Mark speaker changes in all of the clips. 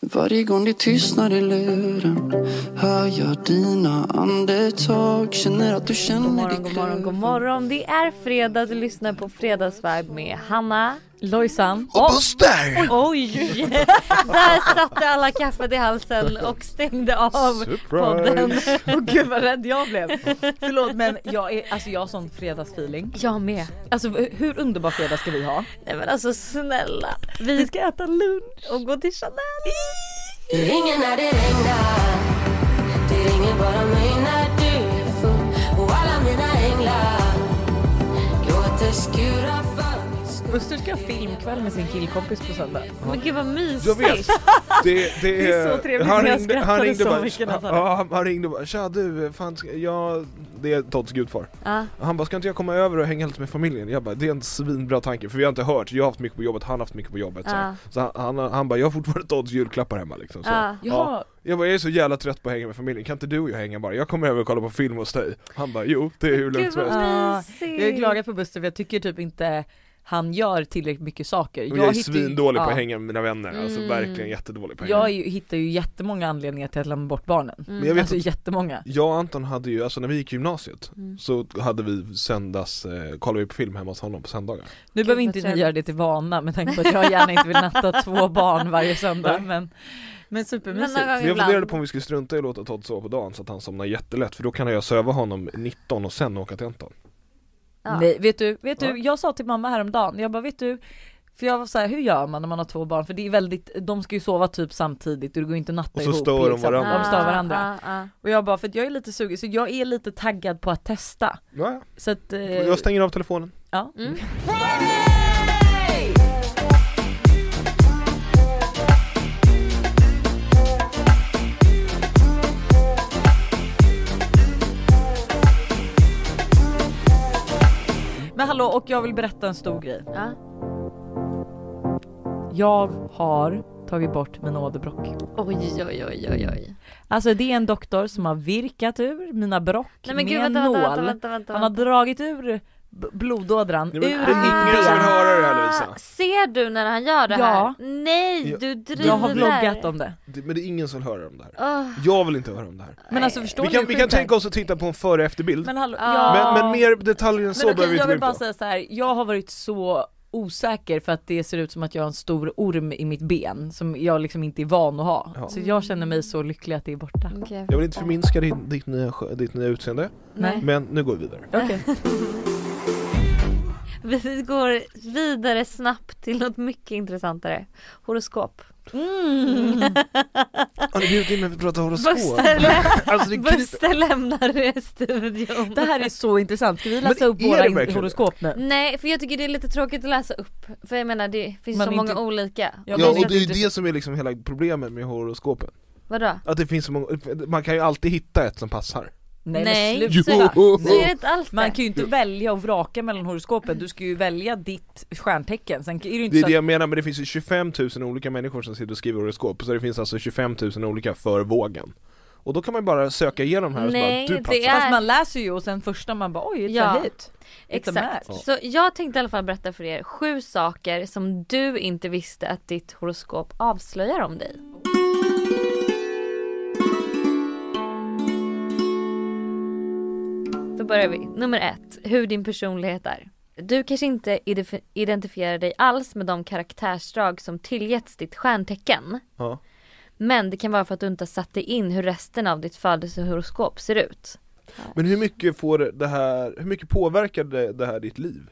Speaker 1: Varje gång det tystnar i luren hör jag dina andetag Känner att du
Speaker 2: God
Speaker 1: känner
Speaker 2: morgon,
Speaker 1: dig
Speaker 2: god morgon, god morgon. Det är fredag. Du lyssnar på Fredagsvibe med Hanna, Lojsan och
Speaker 3: Buster!
Speaker 2: Oj! Där satte alla kaffet i halsen och stängde av podden.
Speaker 4: Åh gud vad rädd jag blev. Förlåt men jag, är, alltså, jag har sån fredagsfeeling.
Speaker 2: Jag med.
Speaker 4: Alltså hur underbar fredag ska vi ha?
Speaker 2: Nej men alltså snälla. Vi ska äta lunch och gå till Chanel.
Speaker 5: Du ringer när det regnar Du ringer bara mig när du är full Och alla mina änglar gråter skurar för min skull
Speaker 4: Buster ska ha filmkväll med sin killkompis på söndag.
Speaker 2: Men gud vad mysigt.
Speaker 3: Jag vet. Det, det,
Speaker 4: Det är så trevligt,
Speaker 3: han
Speaker 4: men jag
Speaker 3: ringde, han
Speaker 4: skrattade
Speaker 3: ringde
Speaker 4: så
Speaker 3: bara,
Speaker 4: mycket när han sa det.
Speaker 3: ja, han- han ringde bara tja du, fan ska jag, det är Todds gudfar.
Speaker 2: Ja.
Speaker 3: Han bara ska inte jag komma över och hänga lite med familjen? Jag bara det är en svinbra tanke för vi har inte hört, jag har haft mycket på jobbet, han har haft mycket på jobbet. Så,
Speaker 2: Ja.
Speaker 3: så han, han, han bara jag har fortfarande Todds julklappar hemma liksom. Så.
Speaker 2: Ja.
Speaker 4: Ja,
Speaker 3: Jag bara jag är så jävla trött på att hänga med familjen, kan inte du och jag hänga bara? Jag kommer över och kollar på film hos dig. Han bara jo, det är hur lugnt
Speaker 2: Gud
Speaker 3: som
Speaker 2: vad
Speaker 3: helst.
Speaker 4: Ja,
Speaker 2: mysigt.
Speaker 4: jag är glad på Buster för jag tycker typ inte han gör tillräckligt mycket saker.
Speaker 3: Men Jag är
Speaker 4: hittar ju-
Speaker 3: svindålig på
Speaker 4: ja.
Speaker 3: att hänga med mina vänner, alltså
Speaker 2: Mm.
Speaker 3: verkligen jättedålig på att hänga.
Speaker 4: Jag är ju, hittar ju jättemånga anledningar till att lämna bort barnen.
Speaker 2: Mm.
Speaker 3: Men jag vet
Speaker 4: Alltså
Speaker 3: att
Speaker 4: jättemånga.
Speaker 3: Jag och Anton hade ju, alltså när vi gick i gymnasiet
Speaker 2: Mm.
Speaker 3: så hade vi söndags, eh, kollade vi på film hemma hos honom på söndagar
Speaker 4: Nu behöver
Speaker 2: vad
Speaker 4: inte ni
Speaker 2: trevligt.
Speaker 4: göra det till vana med tanke på att jag gärna inte vill natta två barn varje söndag men, men
Speaker 2: Men
Speaker 4: supermysigt.
Speaker 2: någon gång
Speaker 3: Men jag funderade
Speaker 2: ibland.
Speaker 3: på om vi skulle strunta i att låta Todd sova på dagen så att han somnar jättelätt för då kan jag söva honom 19 och sen åka till Anton
Speaker 2: Ja.
Speaker 4: Nej, vet du, vet
Speaker 3: Ja.
Speaker 4: du, jag sa till mamma häromdagen, jag bara vet du, för jag var så här, hur gör man när man har två barn? För det är väldigt, de ska ju sova typ samtidigt och det går ju inte att natta
Speaker 3: Och så
Speaker 4: ihop liksom.
Speaker 3: stör de varandra.
Speaker 4: de stör varandra.
Speaker 2: Ja, ja,
Speaker 4: Och jag bara, för att jag är lite sugen, så jag är lite taggad på att testa.
Speaker 3: ja,
Speaker 4: Så att, eh,
Speaker 3: Jag stänger av telefonen
Speaker 4: ja.
Speaker 2: ja. Mm.
Speaker 4: Men hallå, och jag vill berätta en stor grej.
Speaker 2: Ja.
Speaker 4: Jag har tagit bort min åderbråck.
Speaker 2: Oj, oj, oj, oj, oj.
Speaker 4: Alltså det är en doktor som har virkat ur mina brock
Speaker 2: Nej men
Speaker 4: med
Speaker 2: gud
Speaker 4: en
Speaker 2: vänta,
Speaker 4: nål.
Speaker 2: vänta, vänta, vänta, vänta.
Speaker 4: Han har dragit ur b- blodådran
Speaker 3: Nej, men-
Speaker 4: ur
Speaker 3: Ah.
Speaker 4: mitt
Speaker 3: ingen som vill
Speaker 4: ben.
Speaker 3: höra det här, Lisa.
Speaker 2: Ser du när han gör det
Speaker 4: Ja.
Speaker 2: här? Nej,
Speaker 3: Ja,
Speaker 2: du driver.
Speaker 4: Jag har vloggat om det.
Speaker 3: Det- Men det är ingen som vill höra om det här
Speaker 4: Ah.
Speaker 2: Åh,
Speaker 3: Jag vill inte höra om det här
Speaker 4: Men alltså förstår
Speaker 3: Vi
Speaker 4: ni
Speaker 3: kan,
Speaker 4: hur
Speaker 3: vi
Speaker 4: sjukt
Speaker 3: kan
Speaker 4: det är?
Speaker 3: tänka oss att titta på en före och efterbild
Speaker 4: Men hallå,
Speaker 2: Ja.
Speaker 4: ja.
Speaker 3: men, men mer detaljer än så
Speaker 4: Men okej,
Speaker 3: behöver vi
Speaker 4: jag
Speaker 3: inte
Speaker 4: vill
Speaker 3: gå in
Speaker 4: bara
Speaker 3: på
Speaker 4: säga så här. jag har varit så osäker för att det ser ut som att jag har en stor orm i mitt ben som jag liksom inte är van att ha.
Speaker 3: Ja.
Speaker 4: Så jag känner mig så lycklig att det är borta.
Speaker 2: okej.
Speaker 3: Jag vill inte förminska din, ditt, nya, skö- ditt nya utseende
Speaker 4: Nej.
Speaker 3: Men nu går vi vidare
Speaker 4: Okej.
Speaker 2: Vi går vidare snabbt till något mycket intressantare. Horoskop.
Speaker 4: Mm.
Speaker 3: Har ni bjudit in mig för att prata horoskop?
Speaker 2: Buster, lä-
Speaker 3: Alltså det kryper
Speaker 2: Buster lämnar studion.
Speaker 4: Det här är så intressant. Ska vi läsa
Speaker 3: Men
Speaker 4: upp
Speaker 3: är det
Speaker 4: våra in-
Speaker 3: verkligen
Speaker 4: horoskop nu?
Speaker 2: Nej, för jag tycker det är lite tråkigt att läsa upp. För jag menar det finns
Speaker 4: Man
Speaker 2: så
Speaker 4: är
Speaker 2: många
Speaker 4: inte-
Speaker 2: olika.
Speaker 4: Ja,
Speaker 3: Ja
Speaker 4: men
Speaker 3: och
Speaker 4: jag
Speaker 3: det är ju
Speaker 4: tyckte-
Speaker 3: det som är liksom hela problemet med horoskopen
Speaker 2: Vadå?
Speaker 3: Att det finns så många, man kan ju alltid hitta ett som passar
Speaker 4: Nej,
Speaker 2: Nej.
Speaker 4: men
Speaker 3: Jo.
Speaker 4: sluta.
Speaker 2: Så är det inte alls
Speaker 4: Man
Speaker 2: det.
Speaker 4: kan ju inte välja och vraka mellan horoskopen, du ska ju välja ditt stjärntecken. Sen är det ju inte
Speaker 3: Det är
Speaker 4: så
Speaker 3: det jag menar, men det finns ju 25 000 olika människor som sitter och skriver horoskop, så det finns alltså 25 000 olika för vågen. Och då kan man bara söka igenom här och så
Speaker 2: Nej,
Speaker 3: bara,
Speaker 2: det
Speaker 3: du passar.
Speaker 2: är-
Speaker 4: Fast man läser ju och sen första man bara oj, it's
Speaker 2: Ja.
Speaker 4: a hit. It's a
Speaker 2: Exakt.
Speaker 4: match.
Speaker 2: Så jag tänkte i alla fall berätta för er sju saker som du inte visste att ditt horoskop avslöjar om dig. Då börjar vi. Nummer ett, hur din personlighet är. Du kanske inte idef- identifierar dig alls med de karaktärsdrag som tillgetts ditt stjärntecken.
Speaker 3: Ja.
Speaker 2: Men det kan vara för att du inte har satt dig in hur resten av ditt födelsehoroskop ser ut.
Speaker 3: Men hur mycket får det här, hur mycket påverkar det, det här ditt liv?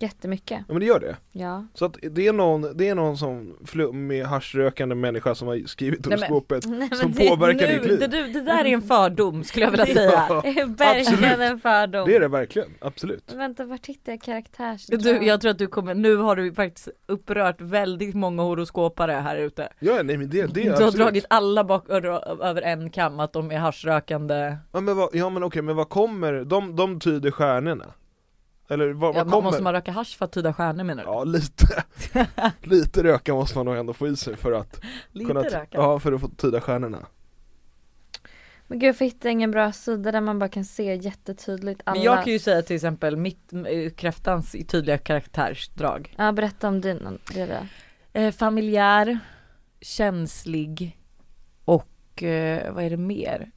Speaker 2: Jättemycket.
Speaker 3: Ja men det gör det.
Speaker 2: Ja.
Speaker 3: Så att det är någon, det är någon som flummig, haschrökande människa som har skrivit
Speaker 4: Nej, men-
Speaker 3: horoskopet
Speaker 2: Nej, men
Speaker 3: som
Speaker 2: det-
Speaker 3: påverkar
Speaker 4: nu,
Speaker 3: ditt liv.
Speaker 4: Det, du, det där är en fördom skulle jag vilja säga.
Speaker 2: Det är verkligen
Speaker 3: Absolut.
Speaker 2: en fördom.
Speaker 3: Det är det verkligen, absolut.
Speaker 2: Vänta, vart hittar jag karaktärsdrag?
Speaker 4: Du, jag tror att du kommer, nu har du faktiskt upprört väldigt många horoskopare här ute.
Speaker 3: Ja nej men det, det
Speaker 4: Du
Speaker 3: är
Speaker 4: har
Speaker 3: absolut.
Speaker 4: dragit alla bak ö- över en kam att de är haschrökande.
Speaker 3: Ja men, vad, ja men okej, men vad kommer, de, de tyder stjärnorna? Eller vad,
Speaker 4: Ja,
Speaker 3: vad
Speaker 4: man
Speaker 3: kommer?
Speaker 4: måste man röka hasch för att tyda stjärnor menar du?
Speaker 3: Ja lite, lite röka måste man nog ändå få i sig för att
Speaker 4: Lite
Speaker 3: kunna,
Speaker 4: röka.
Speaker 3: Ja för att få tyda stjärnorna
Speaker 2: Men gud, jag hittar ingen bra sida där man bara kan se jättetydligt alla.
Speaker 4: Men jag kan ju säga till exempel mitt, eh, kräftans tydliga karaktärsdrag.
Speaker 2: Ja, berätta om din. Det där.
Speaker 4: Eh, familjär, känslig och eh, vad är det mer?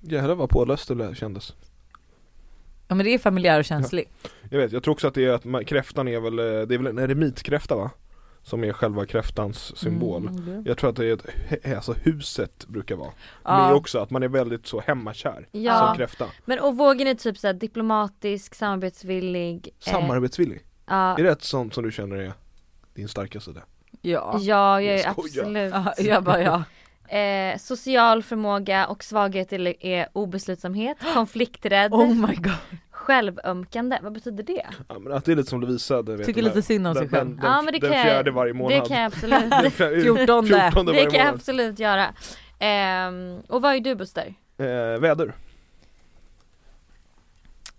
Speaker 3: Jävlar vad påläst det där kändes
Speaker 4: Ja men det är familjär och känslig.
Speaker 3: Jag vet, jag tror också att det är att man- kräftan är väl, eh, det är väl en eremitkräfta va? Som är själva kräftans symbol
Speaker 4: Mm, det-
Speaker 3: Jag tror att det är ett, he- alltså huset brukar vara Men
Speaker 4: ja. Eh.
Speaker 3: också att man är väldigt så hemmakär som
Speaker 2: Ja,
Speaker 3: kräfta
Speaker 2: men och vågen är typ såhär diplomatisk, samarbetsvillig eh,
Speaker 3: Samarbetsvillig,
Speaker 2: ja,
Speaker 3: är det ett sånt som du känner är din starka sida?
Speaker 4: Ja.
Speaker 2: ja, jag är
Speaker 3: Jag skojar.
Speaker 2: absolut
Speaker 4: Ja, jag bara ja.
Speaker 2: eh, Social förmåga och svaghet är, är obeslutsamhet, konflikträdd,
Speaker 4: Oh my god.
Speaker 2: självömkande, vad betyder det?
Speaker 3: Ja, men att det är lite som Lovisa, det vet
Speaker 4: Tycker
Speaker 3: du,
Speaker 4: lite synd om
Speaker 3: den,
Speaker 4: sig
Speaker 3: den, den,
Speaker 4: själv.
Speaker 2: Ja, men det
Speaker 3: den
Speaker 2: kan jag-
Speaker 3: fjärde varje månad
Speaker 2: Det kan jag absolut,
Speaker 3: Den fjärde-
Speaker 4: Fjortonde.
Speaker 3: fjortonde varje
Speaker 2: det kan jag
Speaker 3: månad
Speaker 2: absolut göra Ehm, Och vad är du Buster?
Speaker 3: eh, Väder,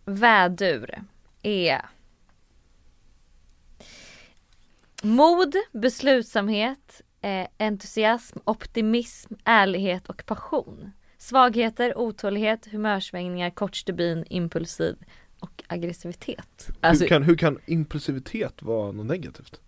Speaker 2: Vädur är Mod, beslutsamhet, eh, entusiasm, optimism, ärlighet och passion. Svagheter, otålighet, humörsvängningar, kort stubin, impulsiv och aggressivitet.
Speaker 4: Alltså,
Speaker 3: hur, kan, hur kan impulsivitet vara något negativt?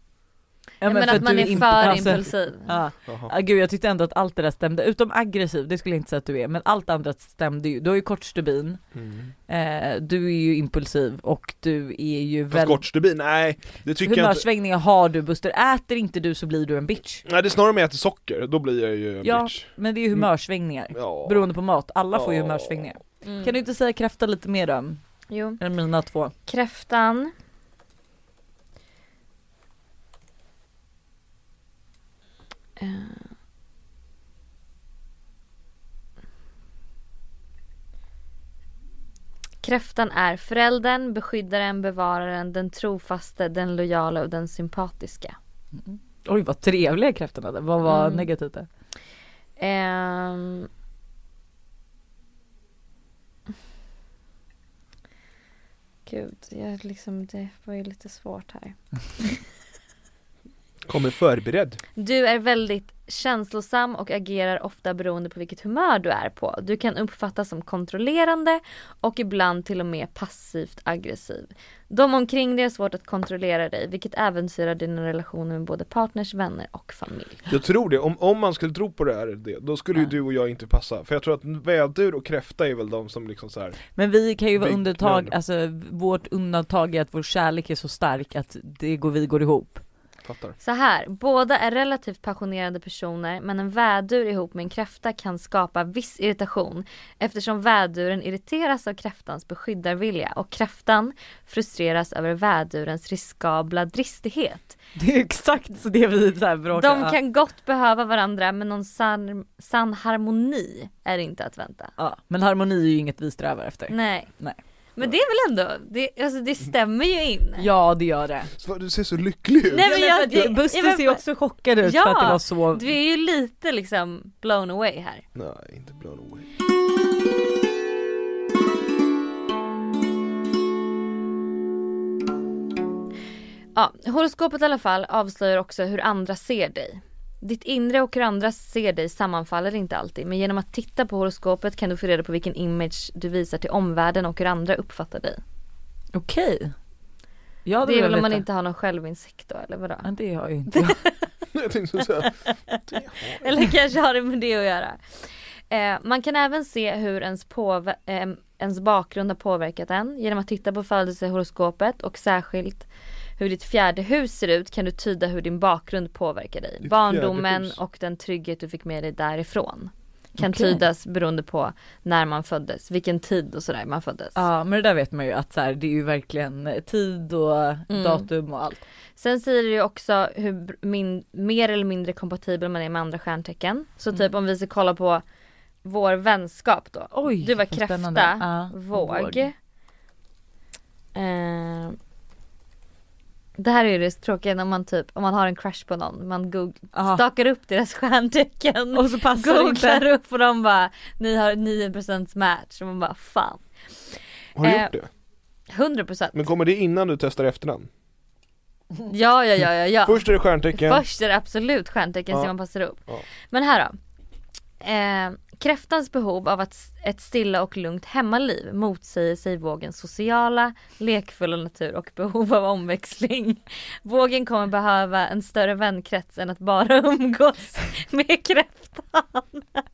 Speaker 4: ja,
Speaker 2: men men
Speaker 4: för
Speaker 2: att man
Speaker 4: du
Speaker 2: är
Speaker 4: inte-
Speaker 2: för
Speaker 4: alltså,
Speaker 2: impulsiv.
Speaker 4: Ja.
Speaker 3: Jaha.
Speaker 4: Ah, gud jag tyckte ändå att allt det där stämde, utom aggressiv, det skulle jag inte säga att du är, men allt andra stämde ju. Du har ju kort stubin,
Speaker 3: Mm.
Speaker 4: eh, du är ju impulsiv och du är ju
Speaker 3: Fast
Speaker 4: väldigt...
Speaker 3: kort stubin, nej det tycker jag inte
Speaker 4: Humörsvängningar har du Buster, äter inte du så blir du en bitch.
Speaker 3: Nej det är snarare om jag äter socker, då blir jag ju en
Speaker 4: Ja.
Speaker 3: bitch
Speaker 4: Men det är ju humörsvängningar,
Speaker 3: Ja.
Speaker 4: beroende på mat, alla får ju
Speaker 3: Mm. Ja.
Speaker 4: humörsvängningar.
Speaker 2: Mm.
Speaker 4: Kan du inte säga kräfta lite mer då?
Speaker 2: Jo.
Speaker 4: Än mina två.
Speaker 2: Kräftan. Eh. Kräftan är föräldern, beskyddaren, bevararen, den trofaste, den lojala och den sympatiska.
Speaker 4: Oj vad trevliga kräftorna där, vad var
Speaker 2: Mm.
Speaker 4: negativt där?
Speaker 2: Ehm. Gud, jag liksom, det var ju lite svårt här.
Speaker 3: Kommer förberedd
Speaker 2: Du är väldigt känslosam och agerar ofta beroende på vilket humör du är på. Du kan uppfattas som kontrollerande och ibland till och med passivt aggressiv. De omkring dig har svårt att kontrollera dig vilket äventyrar dina relationer med både partners, vänner och familj.
Speaker 3: Jag tror det, om, om man skulle tro på det här, det, då skulle ju
Speaker 4: Ja.
Speaker 3: du och jag inte passa För jag tror att vädur och kräfta är väl de som liksom så här.
Speaker 4: Men vi kan ju vara
Speaker 3: Big
Speaker 4: undantag,
Speaker 3: men.
Speaker 4: alltså vårt undantag är att vår kärlek är så stark att det går, vi går ihop.
Speaker 3: fattar
Speaker 2: Så här, båda är relativt passionerade personer men en vädur ihop med en kräfta kan skapa viss irritation eftersom väduren irriteras av kräftans beskyddarvilja och kräftan frustreras över vädurens riskabla dristighet.
Speaker 4: Det är exakt så det vi så här bråkar.
Speaker 2: De kan gott behöva varandra men någon sann, sann harmoni är inte att vänta.
Speaker 4: Ja, men harmoni är ju inget vi strävar efter.
Speaker 2: Nej.
Speaker 4: Nej.
Speaker 2: Men det är väl ändå, det, alltså det stämmer ju in.
Speaker 4: Ja det gör det.
Speaker 3: Så- Du ser så lycklig ut!
Speaker 2: Nej, men jag-
Speaker 4: för att
Speaker 2: det-
Speaker 4: Buster
Speaker 2: jag vet
Speaker 4: ser ju
Speaker 2: bara-
Speaker 4: också chockad ut för
Speaker 2: Ja,
Speaker 4: att det var så...
Speaker 2: Du är ju lite liksom blown away här.
Speaker 3: Nej, inte blown away
Speaker 2: Ja, horoskopet i alla fall avslöjar också hur andra ser dig. Ditt inre och hur andra ser dig sammanfaller inte alltid men genom att titta på horoskopet kan du få reda på vilken image du visar till omvärlden och hur andra uppfattar dig.
Speaker 4: Okej. Ja det,
Speaker 2: Det är
Speaker 4: vill
Speaker 2: väl
Speaker 4: jag
Speaker 2: om man
Speaker 4: veta.
Speaker 2: inte har någon självinsikt då eller vadå?
Speaker 4: Ja, det har ju inte jag.
Speaker 3: Jag tänkte säga,
Speaker 2: Eller kanske har det med det att göra. Eh, man kan även se hur ens, påver- eh, ens bakgrund har påverkat en. Genom att titta på födelsehoroskopet och särskilt hur ditt fjärde hus ser ut kan du tyda hur din bakgrund påverkar dig.
Speaker 3: Ditt fjärde
Speaker 2: Barndomen
Speaker 3: hus.
Speaker 2: och den trygghet du fick med dig därifrån kan
Speaker 4: Okej.
Speaker 2: tydas beroende på när man föddes, vilken tid och sådär man föddes.
Speaker 4: Ja men det där vet man ju att så här, det är ju verkligen eh, tid och
Speaker 2: Mm.
Speaker 4: datum och allt.
Speaker 2: Sen säger det ju också hur br- min, mer eller mindre kompatibel man är med andra stjärntecken. Så
Speaker 4: Mm.
Speaker 2: typ om vi ska kolla på vår vänskap då.
Speaker 4: Oj,
Speaker 2: du var
Speaker 4: vad
Speaker 2: kräfta,
Speaker 4: spännande. Ja,
Speaker 2: våg.
Speaker 4: våg.
Speaker 2: Eh, det här är ju det tråkiga när man typ, om man har en crush på någon, man googl-
Speaker 4: Ja.
Speaker 2: stakar upp deras stjärntecken.
Speaker 4: Ah. Och så passar det
Speaker 2: Googlar
Speaker 4: inte.
Speaker 2: upp och de bara, ni har 9% match och man bara fan.
Speaker 3: har du
Speaker 2: Eh,
Speaker 3: gjort det?
Speaker 2: 100%.
Speaker 3: Men kommer det innan du testar efternamn?
Speaker 2: Ja ja ja ja ja.
Speaker 3: Först är det stjärntecken
Speaker 2: Först är det absolut stjärntecken
Speaker 3: Ja.
Speaker 2: som man passar upp.
Speaker 3: Ja.
Speaker 2: Men här då. Eh, kräftans behov av att, s- ett stilla och lugnt hemmaliv motsäger sig vågens sociala, lekfulla natur och behov av omväxling. Vågen kommer behöva en större vänkrets än att bara umgås med kräftan.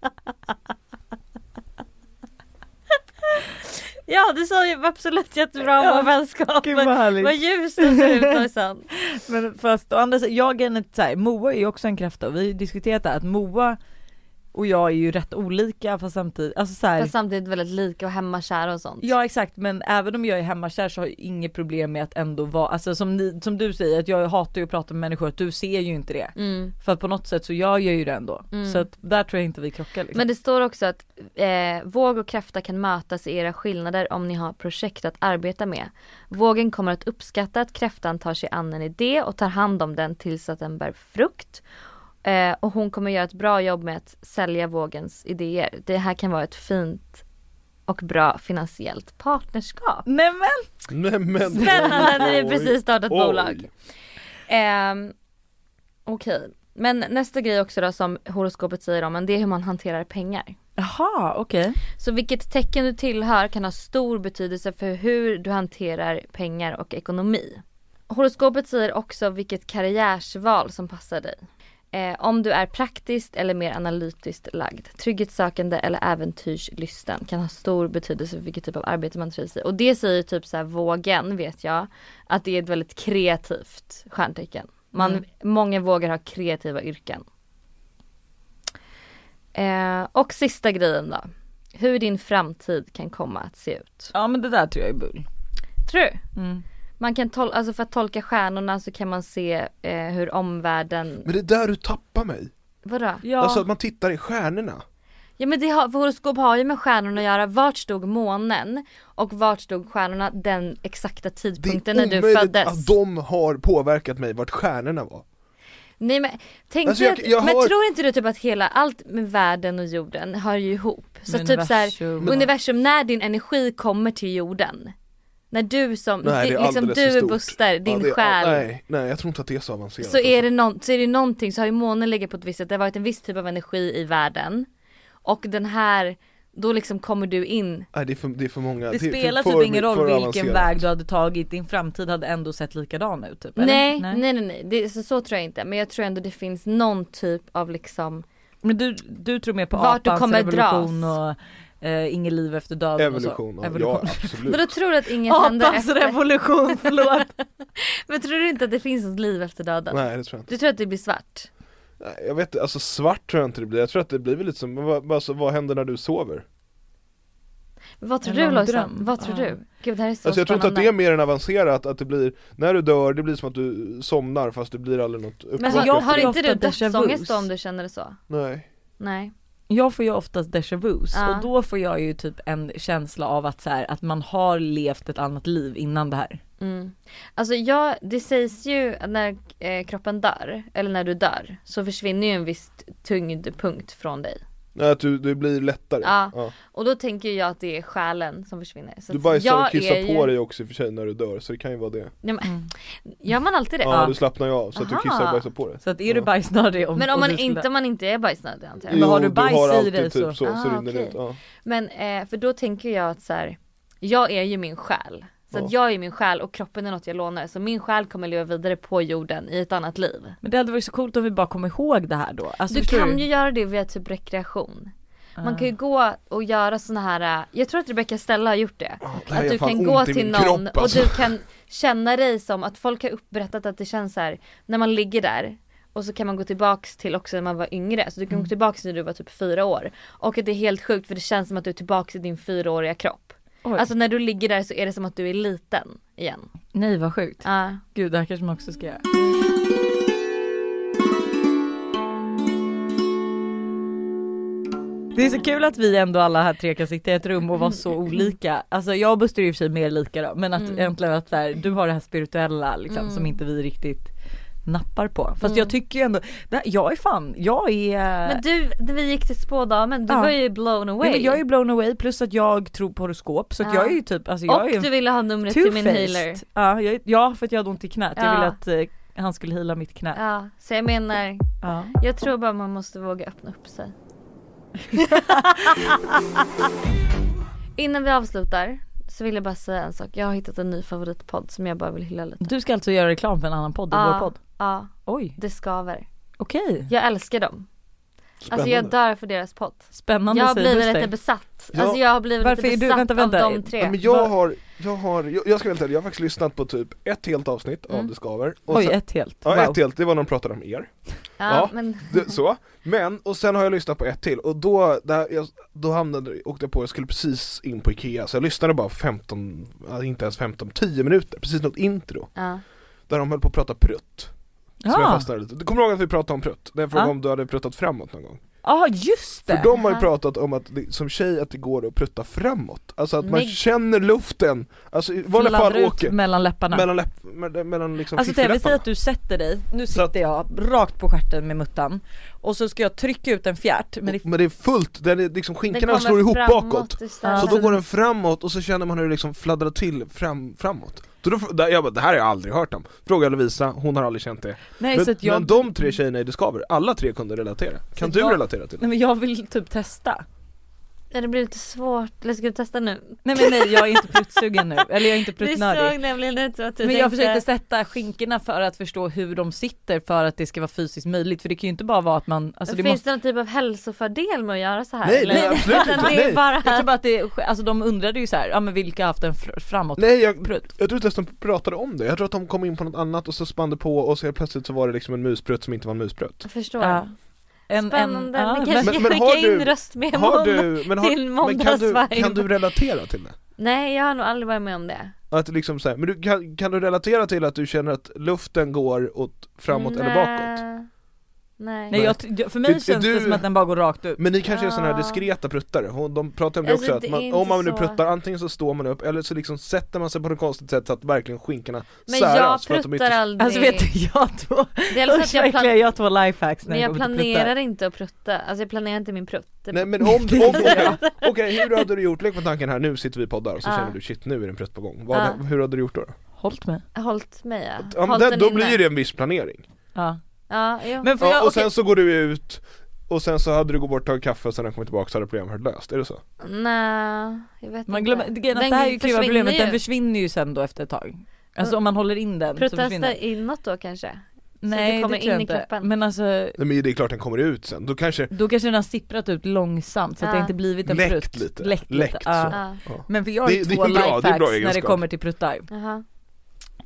Speaker 2: Ja du sa ju absolut jättebra om
Speaker 4: Ja,
Speaker 2: vår vänskap.
Speaker 4: gud vad härligt.
Speaker 2: Vad ljus den ser ut Lojsan.
Speaker 4: Men fast å andra sidan, jag är en, så här, Moa är ju också en kräfta och vi har ju diskuterat det här, att Moa och jag är ju rätt olika fast samtidigt, alltså så här,
Speaker 2: Fast samtidigt väldigt lika och hemmakära och sånt.
Speaker 4: Ja exakt men även om jag är hemmakär så har jag inget problem med att ändå vara, alltså som, ni, som du säger att jag hatar ju att prata med människor, att du ser ju inte det.
Speaker 2: Mm.
Speaker 4: För att på något sätt så gör jag ju det ändå. Så att där tror jag inte vi krockar liksom.
Speaker 2: Men det står också att eh, våg och kräfta kan mötas i era skillnader om ni har projekt att arbeta med. Vågen kommer att uppskatta att kräftan tar sig an en idé och tar hand om den tills att den bär frukt. Eh, och hon kommer göra ett bra jobb med att sälja vågens idéer. Det här kan vara ett fint och bra finansiellt partnerskap.
Speaker 4: Nej men!
Speaker 3: Nej, men,
Speaker 2: Spännande när
Speaker 3: oj,
Speaker 2: ni precis startat
Speaker 3: oj.
Speaker 2: bolag. Ehm, Okej, men nästa grej också då som horoskopet säger om en det är hur man hanterar pengar.
Speaker 4: Jaha okej.
Speaker 2: Så vilket tecken du tillhör kan ha stor betydelse för hur du hanterar pengar och ekonomi. Horoskopet säger också vilket karriärsval som passar dig. Eh, om du är praktiskt eller mer analytiskt lagd. Trygghetssökande eller äventyrslysten kan ha stor betydelse för vilket typ av arbete man trivs i. Och det säger typ så här vågen vet jag. Att det är ett väldigt kreativt stjärntecken. Man, Många vågar ha kreativa yrken. Eh, och sista grejen då. Hur din framtid kan komma att se ut.
Speaker 4: Ja men det där tror jag är bull.
Speaker 2: Tror du? Man kan tol- alltså för att tolka stjärnorna så kan man se eh, hur omvärlden,
Speaker 3: men det är där du tappar mig.
Speaker 2: vadå?
Speaker 4: Ja.
Speaker 3: Alltså att man tittar i stjärnorna.
Speaker 2: Ja men det har, för horoskop har ju med stjärnorna att göra. Vart stod månen? Och vart stod stjärnorna den exakta
Speaker 3: Det är
Speaker 2: tidpunkten när du
Speaker 3: omöjligt
Speaker 2: föddes?
Speaker 3: att de har påverkat mig vart stjärnorna var.
Speaker 2: Nej men, tänk
Speaker 3: Alltså,
Speaker 2: dig
Speaker 3: jag-
Speaker 2: att,
Speaker 3: jag
Speaker 2: men
Speaker 3: har-
Speaker 2: tror inte du typ att hela, allt med världen och jorden hör ju ihop? Så
Speaker 4: Med
Speaker 2: typ såhär,
Speaker 4: universum.
Speaker 2: universum, när din energi kommer till jorden. När du som,
Speaker 3: Nej, det
Speaker 2: di-
Speaker 3: är
Speaker 2: liksom
Speaker 3: alldeles för
Speaker 2: du är
Speaker 3: stort.
Speaker 2: Buster, din
Speaker 3: det,
Speaker 2: själ.
Speaker 3: Nej, nej jag tror inte att det är så avancerat. alltså.
Speaker 2: så är, det någon, så är det någonting, så har ju månen legat på ett visst sätt, det har varit en viss typ av energi i världen. Och den här, då liksom kommer du in.
Speaker 3: Nej det är för, det är för många.
Speaker 4: Det
Speaker 3: är för-
Speaker 4: spelar
Speaker 3: för-
Speaker 4: typ ingen
Speaker 3: för
Speaker 4: roll vilken
Speaker 3: avancerat.
Speaker 4: väg du hade tagit, din framtid hade ändå sett likadan ut typ eller?
Speaker 2: Nej, nej, nej, nej, Det, så, så tror jag inte. Men jag tror ändå det finns någon typ av liksom,
Speaker 4: Men du, du tror mer på
Speaker 2: Vart du
Speaker 4: apans
Speaker 2: kommer
Speaker 4: revolution och eh, inget liv efter döden
Speaker 3: Evolution,
Speaker 4: och
Speaker 3: ja,
Speaker 4: så. Evolution.
Speaker 3: ja
Speaker 2: men
Speaker 3: absolut.
Speaker 2: då tror du att inget händer
Speaker 4: Apans
Speaker 2: efter?
Speaker 4: revolution, förlåt!
Speaker 2: Men tror du inte att det finns något liv efter döden?
Speaker 3: Nej det tror jag inte.
Speaker 2: Du tror att det blir svart?
Speaker 3: Nej, Jag vet inte, alltså svart tror jag inte det blir. Jag tror att det blir väl lite som, vad, alltså, vad händer när du sover?
Speaker 2: Vad tror
Speaker 4: Eller
Speaker 2: du
Speaker 4: någon
Speaker 2: Lojsan?
Speaker 4: dröm.
Speaker 2: Vad tror
Speaker 4: Ja.
Speaker 2: du? Gud det här är så
Speaker 3: Alltså jag tror inte att det är
Speaker 2: spännande.
Speaker 3: mer än avancerat att det blir, när du dör, det blir som att du somnar fast det blir aldrig något uppbrott
Speaker 2: Men
Speaker 4: Alltså,
Speaker 2: har,
Speaker 4: jag
Speaker 2: har
Speaker 4: får ju
Speaker 2: inte du
Speaker 4: ofta déjà vu.
Speaker 2: dödsångest då om du känner det så?
Speaker 3: Nej.
Speaker 2: Nej.
Speaker 4: Jag får ju oftast déjà vus
Speaker 2: Ja.
Speaker 4: och då får jag ju typ en känsla av att så här, att man har levt ett annat liv innan det här.
Speaker 2: Mm. Alltså jag, det sägs ju att när eh, kroppen dör, eller när du dör, så försvinner ju en viss tyngdpunkt från dig.
Speaker 3: Nej att du, det blir lättare.
Speaker 2: Ja. Och då tänker jag att det är själen som försvinner. Så
Speaker 3: Du
Speaker 2: att
Speaker 3: bajsar
Speaker 2: jag
Speaker 3: och kissar
Speaker 2: är
Speaker 3: på
Speaker 2: ju-
Speaker 3: dig också i och för sig när du dör, så det kan ju vara det.
Speaker 2: Nej, men,
Speaker 4: Mm.
Speaker 2: Gör man alltid det?
Speaker 3: Ja,
Speaker 4: Ja.
Speaker 3: du slappnar ju av så att du
Speaker 2: Aha.
Speaker 3: kissar och bajsar på dig.
Speaker 4: Så att är du
Speaker 3: Ja.
Speaker 4: bajsnödig om,
Speaker 2: Men om
Speaker 4: och
Speaker 2: man
Speaker 4: du skulle-
Speaker 2: inte, om man inte är bajsnödig antar jag.
Speaker 4: men har du bajs i
Speaker 3: alltid
Speaker 4: dig
Speaker 3: typ
Speaker 4: så-
Speaker 3: så, så,
Speaker 2: Ah,
Speaker 3: rinner det
Speaker 2: okej.
Speaker 3: ut. Ja.
Speaker 2: Men eh, för då tänker jag att så här, jag är ju min själ. Så att jag är min själ och kroppen är något jag lånar. Så min själ kommer leva vidare på jorden i ett annat liv.
Speaker 4: Men det hade varit så coolt om vi bara kom ihåg det här då. Alltså,
Speaker 2: Du
Speaker 4: förstår Ah.
Speaker 2: kan ju göra det via typ rekreation. Man kan ju gå och göra såna här, eh, jag tror att Rebecca Stella har gjort det.
Speaker 3: Ah, det här
Speaker 2: att
Speaker 3: gör
Speaker 2: du
Speaker 3: fan
Speaker 2: kan
Speaker 3: ont
Speaker 2: gå
Speaker 3: i
Speaker 2: till
Speaker 3: min
Speaker 2: någon
Speaker 3: kropp, alltså.
Speaker 2: och du kan känna dig som att folk har upprättat att det känns så här när man ligger där och så kan man gå tillbaks till också när man var yngre. Så du
Speaker 4: Mm.
Speaker 2: kan gå tillbaks när du var typ fyra år. Och att det är helt sjukt för det känns som att du är tillbaks i din fyraåriga kropp.
Speaker 4: Oj.
Speaker 2: Alltså när du ligger där så är det som att du är liten igen.
Speaker 4: Nej vad sjukt.
Speaker 2: Ja.
Speaker 4: Gud det här kanske man också ska göra. Det är så kul att vi ändå alla här tre kan sitta i ett rum och vara så olika. Alltså jag och Buster är i och för sig mer lika då men att
Speaker 2: Mm.
Speaker 4: egentligen att så här, du har det här spirituella liksom som inte vi riktigt nappar på. Fast jag tycker ju ändå, det här, jag är fan, jag är
Speaker 2: Mm. Men du, när vi gick till spådamen, du
Speaker 4: Ja.
Speaker 2: var ju blown away.
Speaker 4: Nej, men jag är blown away plus att jag tror på horoskop så att
Speaker 2: Ja.
Speaker 4: jag är ju typ, alltså jag
Speaker 2: och
Speaker 4: är
Speaker 2: du
Speaker 4: en
Speaker 2: ville ha numret till min healer.
Speaker 4: two-faced. Ja, jag, ja för att jag hade ont i knät,
Speaker 2: Ja.
Speaker 4: jag ville att eh, han skulle heala mitt knä.
Speaker 2: Ja, så jag menar,
Speaker 4: Ja.
Speaker 2: jag tror bara man måste våga öppna upp sig. Innan vi avslutar så vill jag bara säga en sak. Jag har hittat en ny favoritpodd som jag bara vill hylla lite.
Speaker 4: Du ska alltså göra reklam för en annan podd än
Speaker 2: Ja,
Speaker 4: vår podd?
Speaker 2: Ja,
Speaker 4: Oj,
Speaker 2: Det Skaver.
Speaker 4: okej.
Speaker 2: Jag älskar dem. Alltså jag
Speaker 3: Spännande.
Speaker 2: dör för deras podd.
Speaker 4: Spännande
Speaker 2: Jag har
Speaker 4: säger
Speaker 2: blivit
Speaker 4: Buster.
Speaker 2: lite besatt.
Speaker 3: Ja.
Speaker 2: Alltså jag har blivit
Speaker 4: Varför är
Speaker 2: lite
Speaker 4: du-
Speaker 2: besatt
Speaker 4: vänta, vänta.
Speaker 2: av de tre.
Speaker 3: Ja, men jag har, jag har, jag, jag ska väl jag har faktiskt lyssnat på typ ett helt avsnitt av
Speaker 2: Mm.
Speaker 3: Det Skaver och
Speaker 4: Oj,
Speaker 3: sen,
Speaker 4: ett helt.
Speaker 3: Ja
Speaker 4: wow.
Speaker 3: ett helt, det var när de pratade om er,
Speaker 2: ja,
Speaker 3: ja.
Speaker 2: men
Speaker 3: det, så. Men, och sen har jag lyssnat på ett till och då, där jag, då hamnade, åkte jag på, jag skulle precis in på Ikea så jag lyssnade bara 15, ja, inte ens 15, 10 minuter, precis något intro
Speaker 2: ja.
Speaker 3: Där de höll på att prata prutt, som jag
Speaker 4: Ja,
Speaker 3: fastnade lite Du kommer ihåg att vi pratade om prutt? Den frågan
Speaker 4: Ja.
Speaker 3: om du hade pruttat framåt någon gång?
Speaker 4: ah, just
Speaker 3: För
Speaker 4: det!
Speaker 3: de har ju
Speaker 2: Ja.
Speaker 3: pratat om att det, som tjej att det går att prutta framåt, alltså att man
Speaker 2: Nej.
Speaker 3: känner luften, alltså i vanliga
Speaker 4: Fladdrar
Speaker 3: fall
Speaker 4: ut
Speaker 3: åker
Speaker 4: mellan läpparna.
Speaker 3: Mellan, läpp, mellan, mellan liksom
Speaker 4: Alltså Teve, säg
Speaker 3: fiffelläpparna.
Speaker 4: att du sätter dig, nu
Speaker 3: Så
Speaker 4: sitter
Speaker 3: att-
Speaker 4: jag rakt på stjärten med muttan och så ska jag trycka ut en fjärt men det
Speaker 3: Men det är fullt, den är liksom
Speaker 2: Den
Speaker 3: skinkorna
Speaker 2: kommer
Speaker 3: slår ihop
Speaker 2: framåt
Speaker 3: bakåt
Speaker 2: istället.
Speaker 4: Ja.
Speaker 3: Så då går den framåt och så känner man hur det liksom fladdrar till fram, framåt så då, där, jag bara, det här har jag aldrig hört om, fråga Lovisa, hon har aldrig känt det
Speaker 4: Nej
Speaker 3: men,
Speaker 4: så att jag,
Speaker 3: men de tre tjejerna i Discover, alla tre kunde relatera, kan du
Speaker 4: Så jag-
Speaker 3: relatera till det?
Speaker 4: nej, men jag vill typ testa.
Speaker 2: Ja, det blir lite svårt. Eller ska du testa nu?
Speaker 4: Nej men nej jag är inte pruttsugen nu, eller jag är inte
Speaker 2: Du
Speaker 4: pruttnödig.
Speaker 2: såg nämligen ut så att du
Speaker 4: Men jag
Speaker 2: tänkte-
Speaker 4: försökte sätta skinkorna för att förstå hur de sitter för att det ska vara fysiskt möjligt för det kan ju inte bara vara att man, alltså det
Speaker 2: Finns
Speaker 4: måste
Speaker 2: det någon typ av hälsofördel med att göra så här?
Speaker 3: Nej,
Speaker 2: eller?
Speaker 3: nej, absolut
Speaker 2: Utan
Speaker 3: inte.
Speaker 2: Det är
Speaker 3: Nej.
Speaker 2: bara...
Speaker 4: jag tror bara att det, alltså de undrade ju så här, ja men vilka har haft en fr- framåt
Speaker 3: Nej jag,
Speaker 4: prutt?
Speaker 3: jag tror inte ens de pratade om det, jag tror att de kom in på något annat och så spann det på och så helt plötsligt så var det liksom en musprutt som inte var en musprutt
Speaker 2: Jag förstår.
Speaker 4: Ja. En,
Speaker 2: Spännande.
Speaker 4: ja,
Speaker 2: Ni kanske
Speaker 3: men-
Speaker 2: kan
Speaker 3: men har
Speaker 2: skicka in
Speaker 3: du-
Speaker 2: röstmemon.
Speaker 3: Har du, men,
Speaker 2: till
Speaker 3: har, men kan, du,
Speaker 2: måndagsvibe.
Speaker 3: kan du relatera till det?
Speaker 2: Nej, jag har nog aldrig varit med om det.
Speaker 3: Att liksom så här, men du, kan, kan du relatera till att du känner att luften går åt framåt
Speaker 4: Mm,
Speaker 3: eller bakåt?
Speaker 2: Nej. Nej.
Speaker 4: Nej jag, jag- för mig
Speaker 3: Är- är
Speaker 4: känns det
Speaker 3: du-
Speaker 4: som att den bara går rakt ut.
Speaker 3: Men ni kanske är sådana här
Speaker 2: Ja.
Speaker 3: diskreta pruttare, Hon- de pratar om det
Speaker 2: Ah. Alltså,
Speaker 3: också
Speaker 2: det är
Speaker 3: att man,
Speaker 2: inte
Speaker 3: om man nu
Speaker 2: så.
Speaker 3: pruttar antingen så står man upp eller så liksom sätter man sig på något konstigt sätt så att verkligen skinkorna
Speaker 2: men jag
Speaker 3: säras för att de
Speaker 2: pruttar
Speaker 3: inte
Speaker 2: aldrig.
Speaker 4: Alltså vet du, jag har två,
Speaker 2: Dels liksom att
Speaker 4: usch
Speaker 2: jag
Speaker 4: verkligen,
Speaker 2: plan...
Speaker 4: jag har två lifehacks när
Speaker 2: Men
Speaker 4: det
Speaker 2: jag
Speaker 4: kommer till pruttar.
Speaker 2: planerar inte att prutta. Alltså jag planerar inte min prutt. Det-
Speaker 3: Nej men om, om okej, okej, hur hade du gjort, lek med tanken här, nu sitter vi i poddar och så
Speaker 2: Ja.
Speaker 3: känner du shit nu är det en prutt på gång, Vad,
Speaker 2: Ja.
Speaker 3: hur hade du gjort då?
Speaker 4: Hållt mig.
Speaker 2: Hållt mig ja.
Speaker 3: Ja, men
Speaker 2: Hållt
Speaker 3: det,
Speaker 2: den
Speaker 3: då
Speaker 2: inne.
Speaker 3: blir det en viss planering,
Speaker 4: Ja.
Speaker 2: Ja, jo.
Speaker 4: Men får
Speaker 3: ja,
Speaker 4: jag,
Speaker 3: och
Speaker 4: okej.
Speaker 3: sen så går du ut och sen så hade du gått bort och tagit kaffe och sen när du kommit tillbaka så hade problemet varit löst, är det så?
Speaker 2: Nej, jag vet
Speaker 4: man
Speaker 2: inte.
Speaker 4: glömmer, grejen är att
Speaker 2: Den
Speaker 4: det här är ju
Speaker 2: försvinner
Speaker 4: kluva problemet, den
Speaker 2: ju.
Speaker 4: försvinner ju sen då efter ett tag. Alltså
Speaker 2: Mm.
Speaker 4: om man håller in den så försvinner
Speaker 2: Protesta
Speaker 4: den.
Speaker 2: inåt då kanske?
Speaker 4: Nej det,
Speaker 2: kommer
Speaker 4: tror jag
Speaker 2: in i
Speaker 4: inte.
Speaker 2: kroppen.
Speaker 4: Men alltså,
Speaker 3: Nej men det är klart den kommer ut sen, då kanske
Speaker 4: då kanske den har sipprat ut långsamt så att det
Speaker 2: Ja.
Speaker 4: inte blivit en
Speaker 3: Läckt
Speaker 4: prutt.
Speaker 3: lite.
Speaker 4: Läckt lite.
Speaker 3: Läckt,
Speaker 4: ja.
Speaker 3: så.
Speaker 2: Ja.
Speaker 4: Men för jag har
Speaker 3: Det-
Speaker 4: ju
Speaker 3: det är
Speaker 4: två
Speaker 3: bra, det är bra
Speaker 4: lifehacks när det
Speaker 3: egenskap.
Speaker 4: kommer till pruttar.
Speaker 2: Jaha.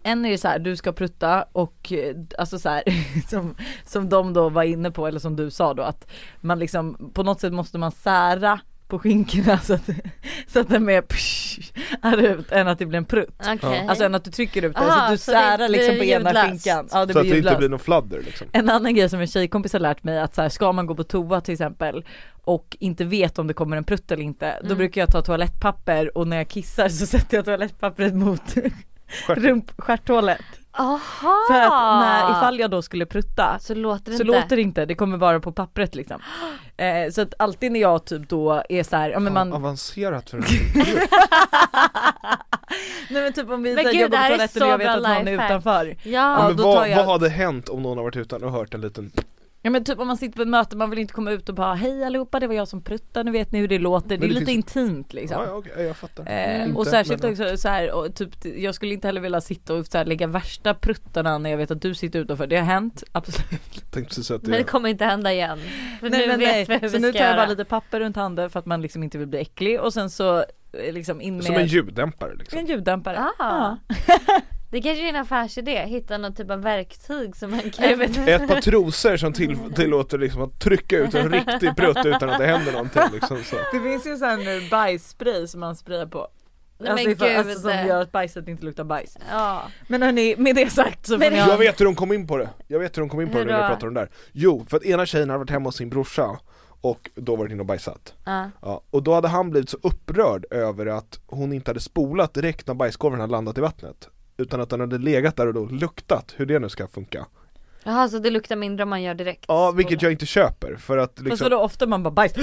Speaker 4: En är det så här, du ska prutta och eh, alltså så här, som, som de då var inne på eller som du sa då att man liksom på något sätt måste man sära på skinkorna så att, så att den mer psh, är ut än att det blir en prutt.
Speaker 2: Okej.
Speaker 4: Alltså än att du trycker ut den så
Speaker 2: Aha,
Speaker 4: att du
Speaker 2: Ah, så det
Speaker 4: särar liksom på
Speaker 2: blir
Speaker 4: ena
Speaker 2: ljudlöst.
Speaker 4: skinkan. Ja det
Speaker 3: så
Speaker 4: blir
Speaker 3: att det inte
Speaker 4: ljudlöst.
Speaker 3: blir någon fladder liksom
Speaker 4: En annan grej som en tjejkompis har lärt mig att så här, ska man gå på toa till exempel och inte vet om det kommer en prutt eller inte då
Speaker 2: Mm.
Speaker 4: brukar jag ta toalettpapper och när jag kissar så sätter jag toalettpappret mot rump- stjärthålet.
Speaker 2: Aha!
Speaker 4: För att när, ifall jag då skulle prutta
Speaker 2: Så låter det
Speaker 4: så
Speaker 2: Ah. inte.
Speaker 4: låter det inte, det kommer bara på pappret liksom. Eh, så att alltid när jag typ då är så här, ja men
Speaker 3: Fan,
Speaker 4: man,
Speaker 3: Avancerat för en
Speaker 4: nej men typ om vi
Speaker 2: Men
Speaker 4: säger
Speaker 2: gud,
Speaker 4: jag
Speaker 2: det
Speaker 4: går på
Speaker 2: här är
Speaker 4: toaletten
Speaker 2: så
Speaker 4: och jag vet
Speaker 2: bra
Speaker 4: att någon är
Speaker 2: lifehack.
Speaker 4: utanför.
Speaker 2: Ja.
Speaker 4: Ja,
Speaker 3: men
Speaker 4: då tar
Speaker 3: vad,
Speaker 4: jag-
Speaker 3: vad hade hänt om någon har varit utan och hört en liten
Speaker 4: Ja men typ om man sitter på ett möte, man vill inte komma ut och bara hej allihopa det var jag som pruttade, nu vet ni hur det låter. Det,
Speaker 3: det
Speaker 4: är lite
Speaker 3: finns-
Speaker 4: intimt liksom.
Speaker 3: Ja, ja okej, jag fattar
Speaker 4: Eh,
Speaker 3: Inte,
Speaker 4: och särskilt
Speaker 3: men-
Speaker 4: också så här, och typ, jag skulle inte heller vilja sitta och så här, lägga värsta pruttarna när jag vet att du sitter utanför. Det har hänt, absolut.
Speaker 3: Tänkte precis att
Speaker 2: Men det
Speaker 3: det,
Speaker 2: kommer inte hända igen. För nu vet vi hur
Speaker 4: Så
Speaker 2: vi
Speaker 4: nu
Speaker 2: ska
Speaker 4: tar jag bara
Speaker 2: göra.
Speaker 4: lite papper runt handen för att man liksom inte vill bli äcklig och sen så eh, liksom in med
Speaker 3: som en ljuddämpare liksom
Speaker 4: en ljuddämpare.
Speaker 2: Ah.
Speaker 4: Ja.
Speaker 2: Det kanske är en affärsidé, hitta någon typ av verktyg som man kan...
Speaker 4: Jag vet inte.
Speaker 3: Ett par trosor som till, tillåter liksom att trycka ut en riktig prutt utan att det händer någonting liksom så
Speaker 4: Det finns ju sån här nu bajsspray som man sprayar på.
Speaker 2: Nej,
Speaker 4: alltså,
Speaker 2: men
Speaker 4: ifall,
Speaker 2: gud.
Speaker 4: alltså som gör att bajset inte luktar bajs.
Speaker 2: Ja.
Speaker 4: Men hörni, med det sagt så får
Speaker 2: Men-
Speaker 4: ni
Speaker 3: Jag
Speaker 4: ha...
Speaker 3: vet hur de kom in på det, jag vet hur de kom in på
Speaker 2: Hur
Speaker 3: det när vi
Speaker 2: då?
Speaker 3: pratade om det där Jo, för att ena tjejen hade varit hemma hos sin brorsa och då varit inne och bajsat
Speaker 2: ja.
Speaker 3: Ja, och då hade han blivit så upprörd över att hon inte hade spolat direkt när bajskorven hade landat i vattnet Utan att den hade legat där och då luktat, hur det nu ska funka
Speaker 2: Jaha, så det luktar mindre om man gör direkt?
Speaker 3: Ja, vilket jag inte köper för att
Speaker 4: Fast
Speaker 3: liksom,
Speaker 4: vadå ofta man bara bajs,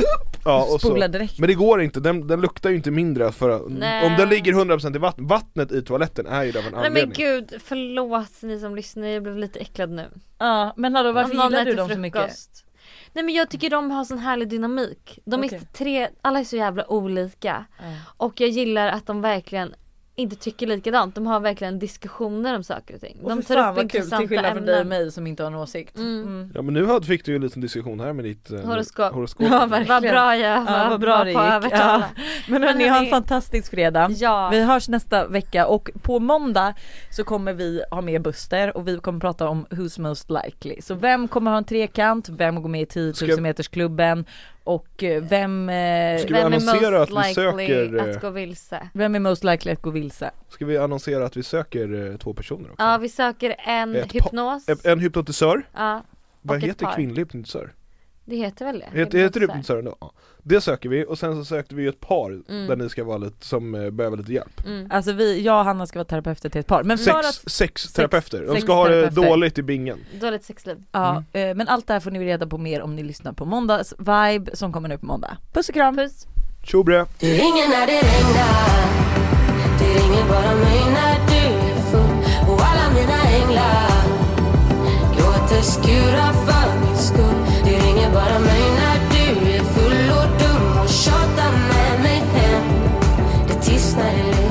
Speaker 3: ja, och
Speaker 4: spolar
Speaker 3: så.
Speaker 4: direkt.
Speaker 3: Men det går inte, den, den luktar ju inte mindre för att,
Speaker 2: Nej.
Speaker 3: om den ligger 100% i vattnet, vattnet i toaletten är ju där av en
Speaker 2: Nej
Speaker 3: anledning
Speaker 2: men gud, förlåt ni som lyssnar, jag blev lite äcklad nu.
Speaker 4: Ja men hallå varför
Speaker 2: Om någon
Speaker 4: gillar du
Speaker 2: äter
Speaker 4: dem så mycket?
Speaker 2: frukost. Nej men jag tycker de har sån härlig dynamik. De är
Speaker 4: Okej.
Speaker 2: tre, alla är så jävla olika. Och jag gillar att de verkligen inte tycker likadant. De har verkligen diskussioner om saker och ting.
Speaker 4: Och
Speaker 2: de
Speaker 4: fy fan vad kul till skillnad från dig och mig som inte har en åsikt.
Speaker 2: Mm.
Speaker 3: Ja men nu hade- fick du ju en liten diskussion här med ditt eh,
Speaker 2: Horoskop.
Speaker 3: horoskop.
Speaker 4: Ja, verkligen.
Speaker 2: Vad bra jag var
Speaker 4: Ja, vad bra det
Speaker 2: på att
Speaker 4: gick. Ja.
Speaker 2: övertala.
Speaker 4: Men hörni, ha en
Speaker 2: hörni-
Speaker 4: fantastisk fredag.
Speaker 2: Ja.
Speaker 4: Vi hörs nästa vecka och på måndag så kommer vi ha med Buster och vi kommer prata om Who's Most Likely. Så vem kommer ha en trekant, vem går med i 10
Speaker 3: Ska-
Speaker 4: 000 metersklubben och eh, vem, eh,
Speaker 3: Ska vi
Speaker 2: Vem är
Speaker 3: annonsera
Speaker 2: most
Speaker 3: att vi
Speaker 2: likely
Speaker 3: söker, eh,
Speaker 2: att gå vilse?
Speaker 4: vem är most likely att gå vilse?
Speaker 3: Ska vi annonsera att vi söker eh, två personer också?
Speaker 2: Ja vi söker en
Speaker 3: Ett par-
Speaker 2: hypnos.
Speaker 3: En- En hypnotisör,
Speaker 2: ja,
Speaker 3: vad
Speaker 2: ett par.
Speaker 3: heter kvinnlig hypnotisör?
Speaker 2: det heter väl det?
Speaker 3: Heter, heter det
Speaker 2: Hypnotisör.
Speaker 3: hypnotisör ändå? Ja. Det söker vi och sen så sökte vi ju ett par
Speaker 2: Mm.
Speaker 3: där ni ska vara lite, som eh, behöver lite hjälp.
Speaker 2: Mm.
Speaker 4: Alltså vi, jag och Hanna ska vara terapeuter till ett par. Men, för att,
Speaker 3: Sex, sex terapeuter, de
Speaker 4: sex
Speaker 3: ska ha det
Speaker 4: terapeuter.
Speaker 3: dåligt i bingen.
Speaker 2: Mm. Dåligt sexliv.
Speaker 4: ja,
Speaker 3: Mm.
Speaker 4: eh, men allt det här får ni reda på mer om ni lyssnar på måndags vibe som kommer nu på måndag. Puss och kram!
Speaker 2: Puss.
Speaker 3: Tjo bre.
Speaker 5: Du ringer när det regnar Du ringer bara mig när du är full Och alla mina änglar Gråter skurar för min skull Du ringer bara mig när du är full och dum Och tjatar med mig hem Det tystnar i luften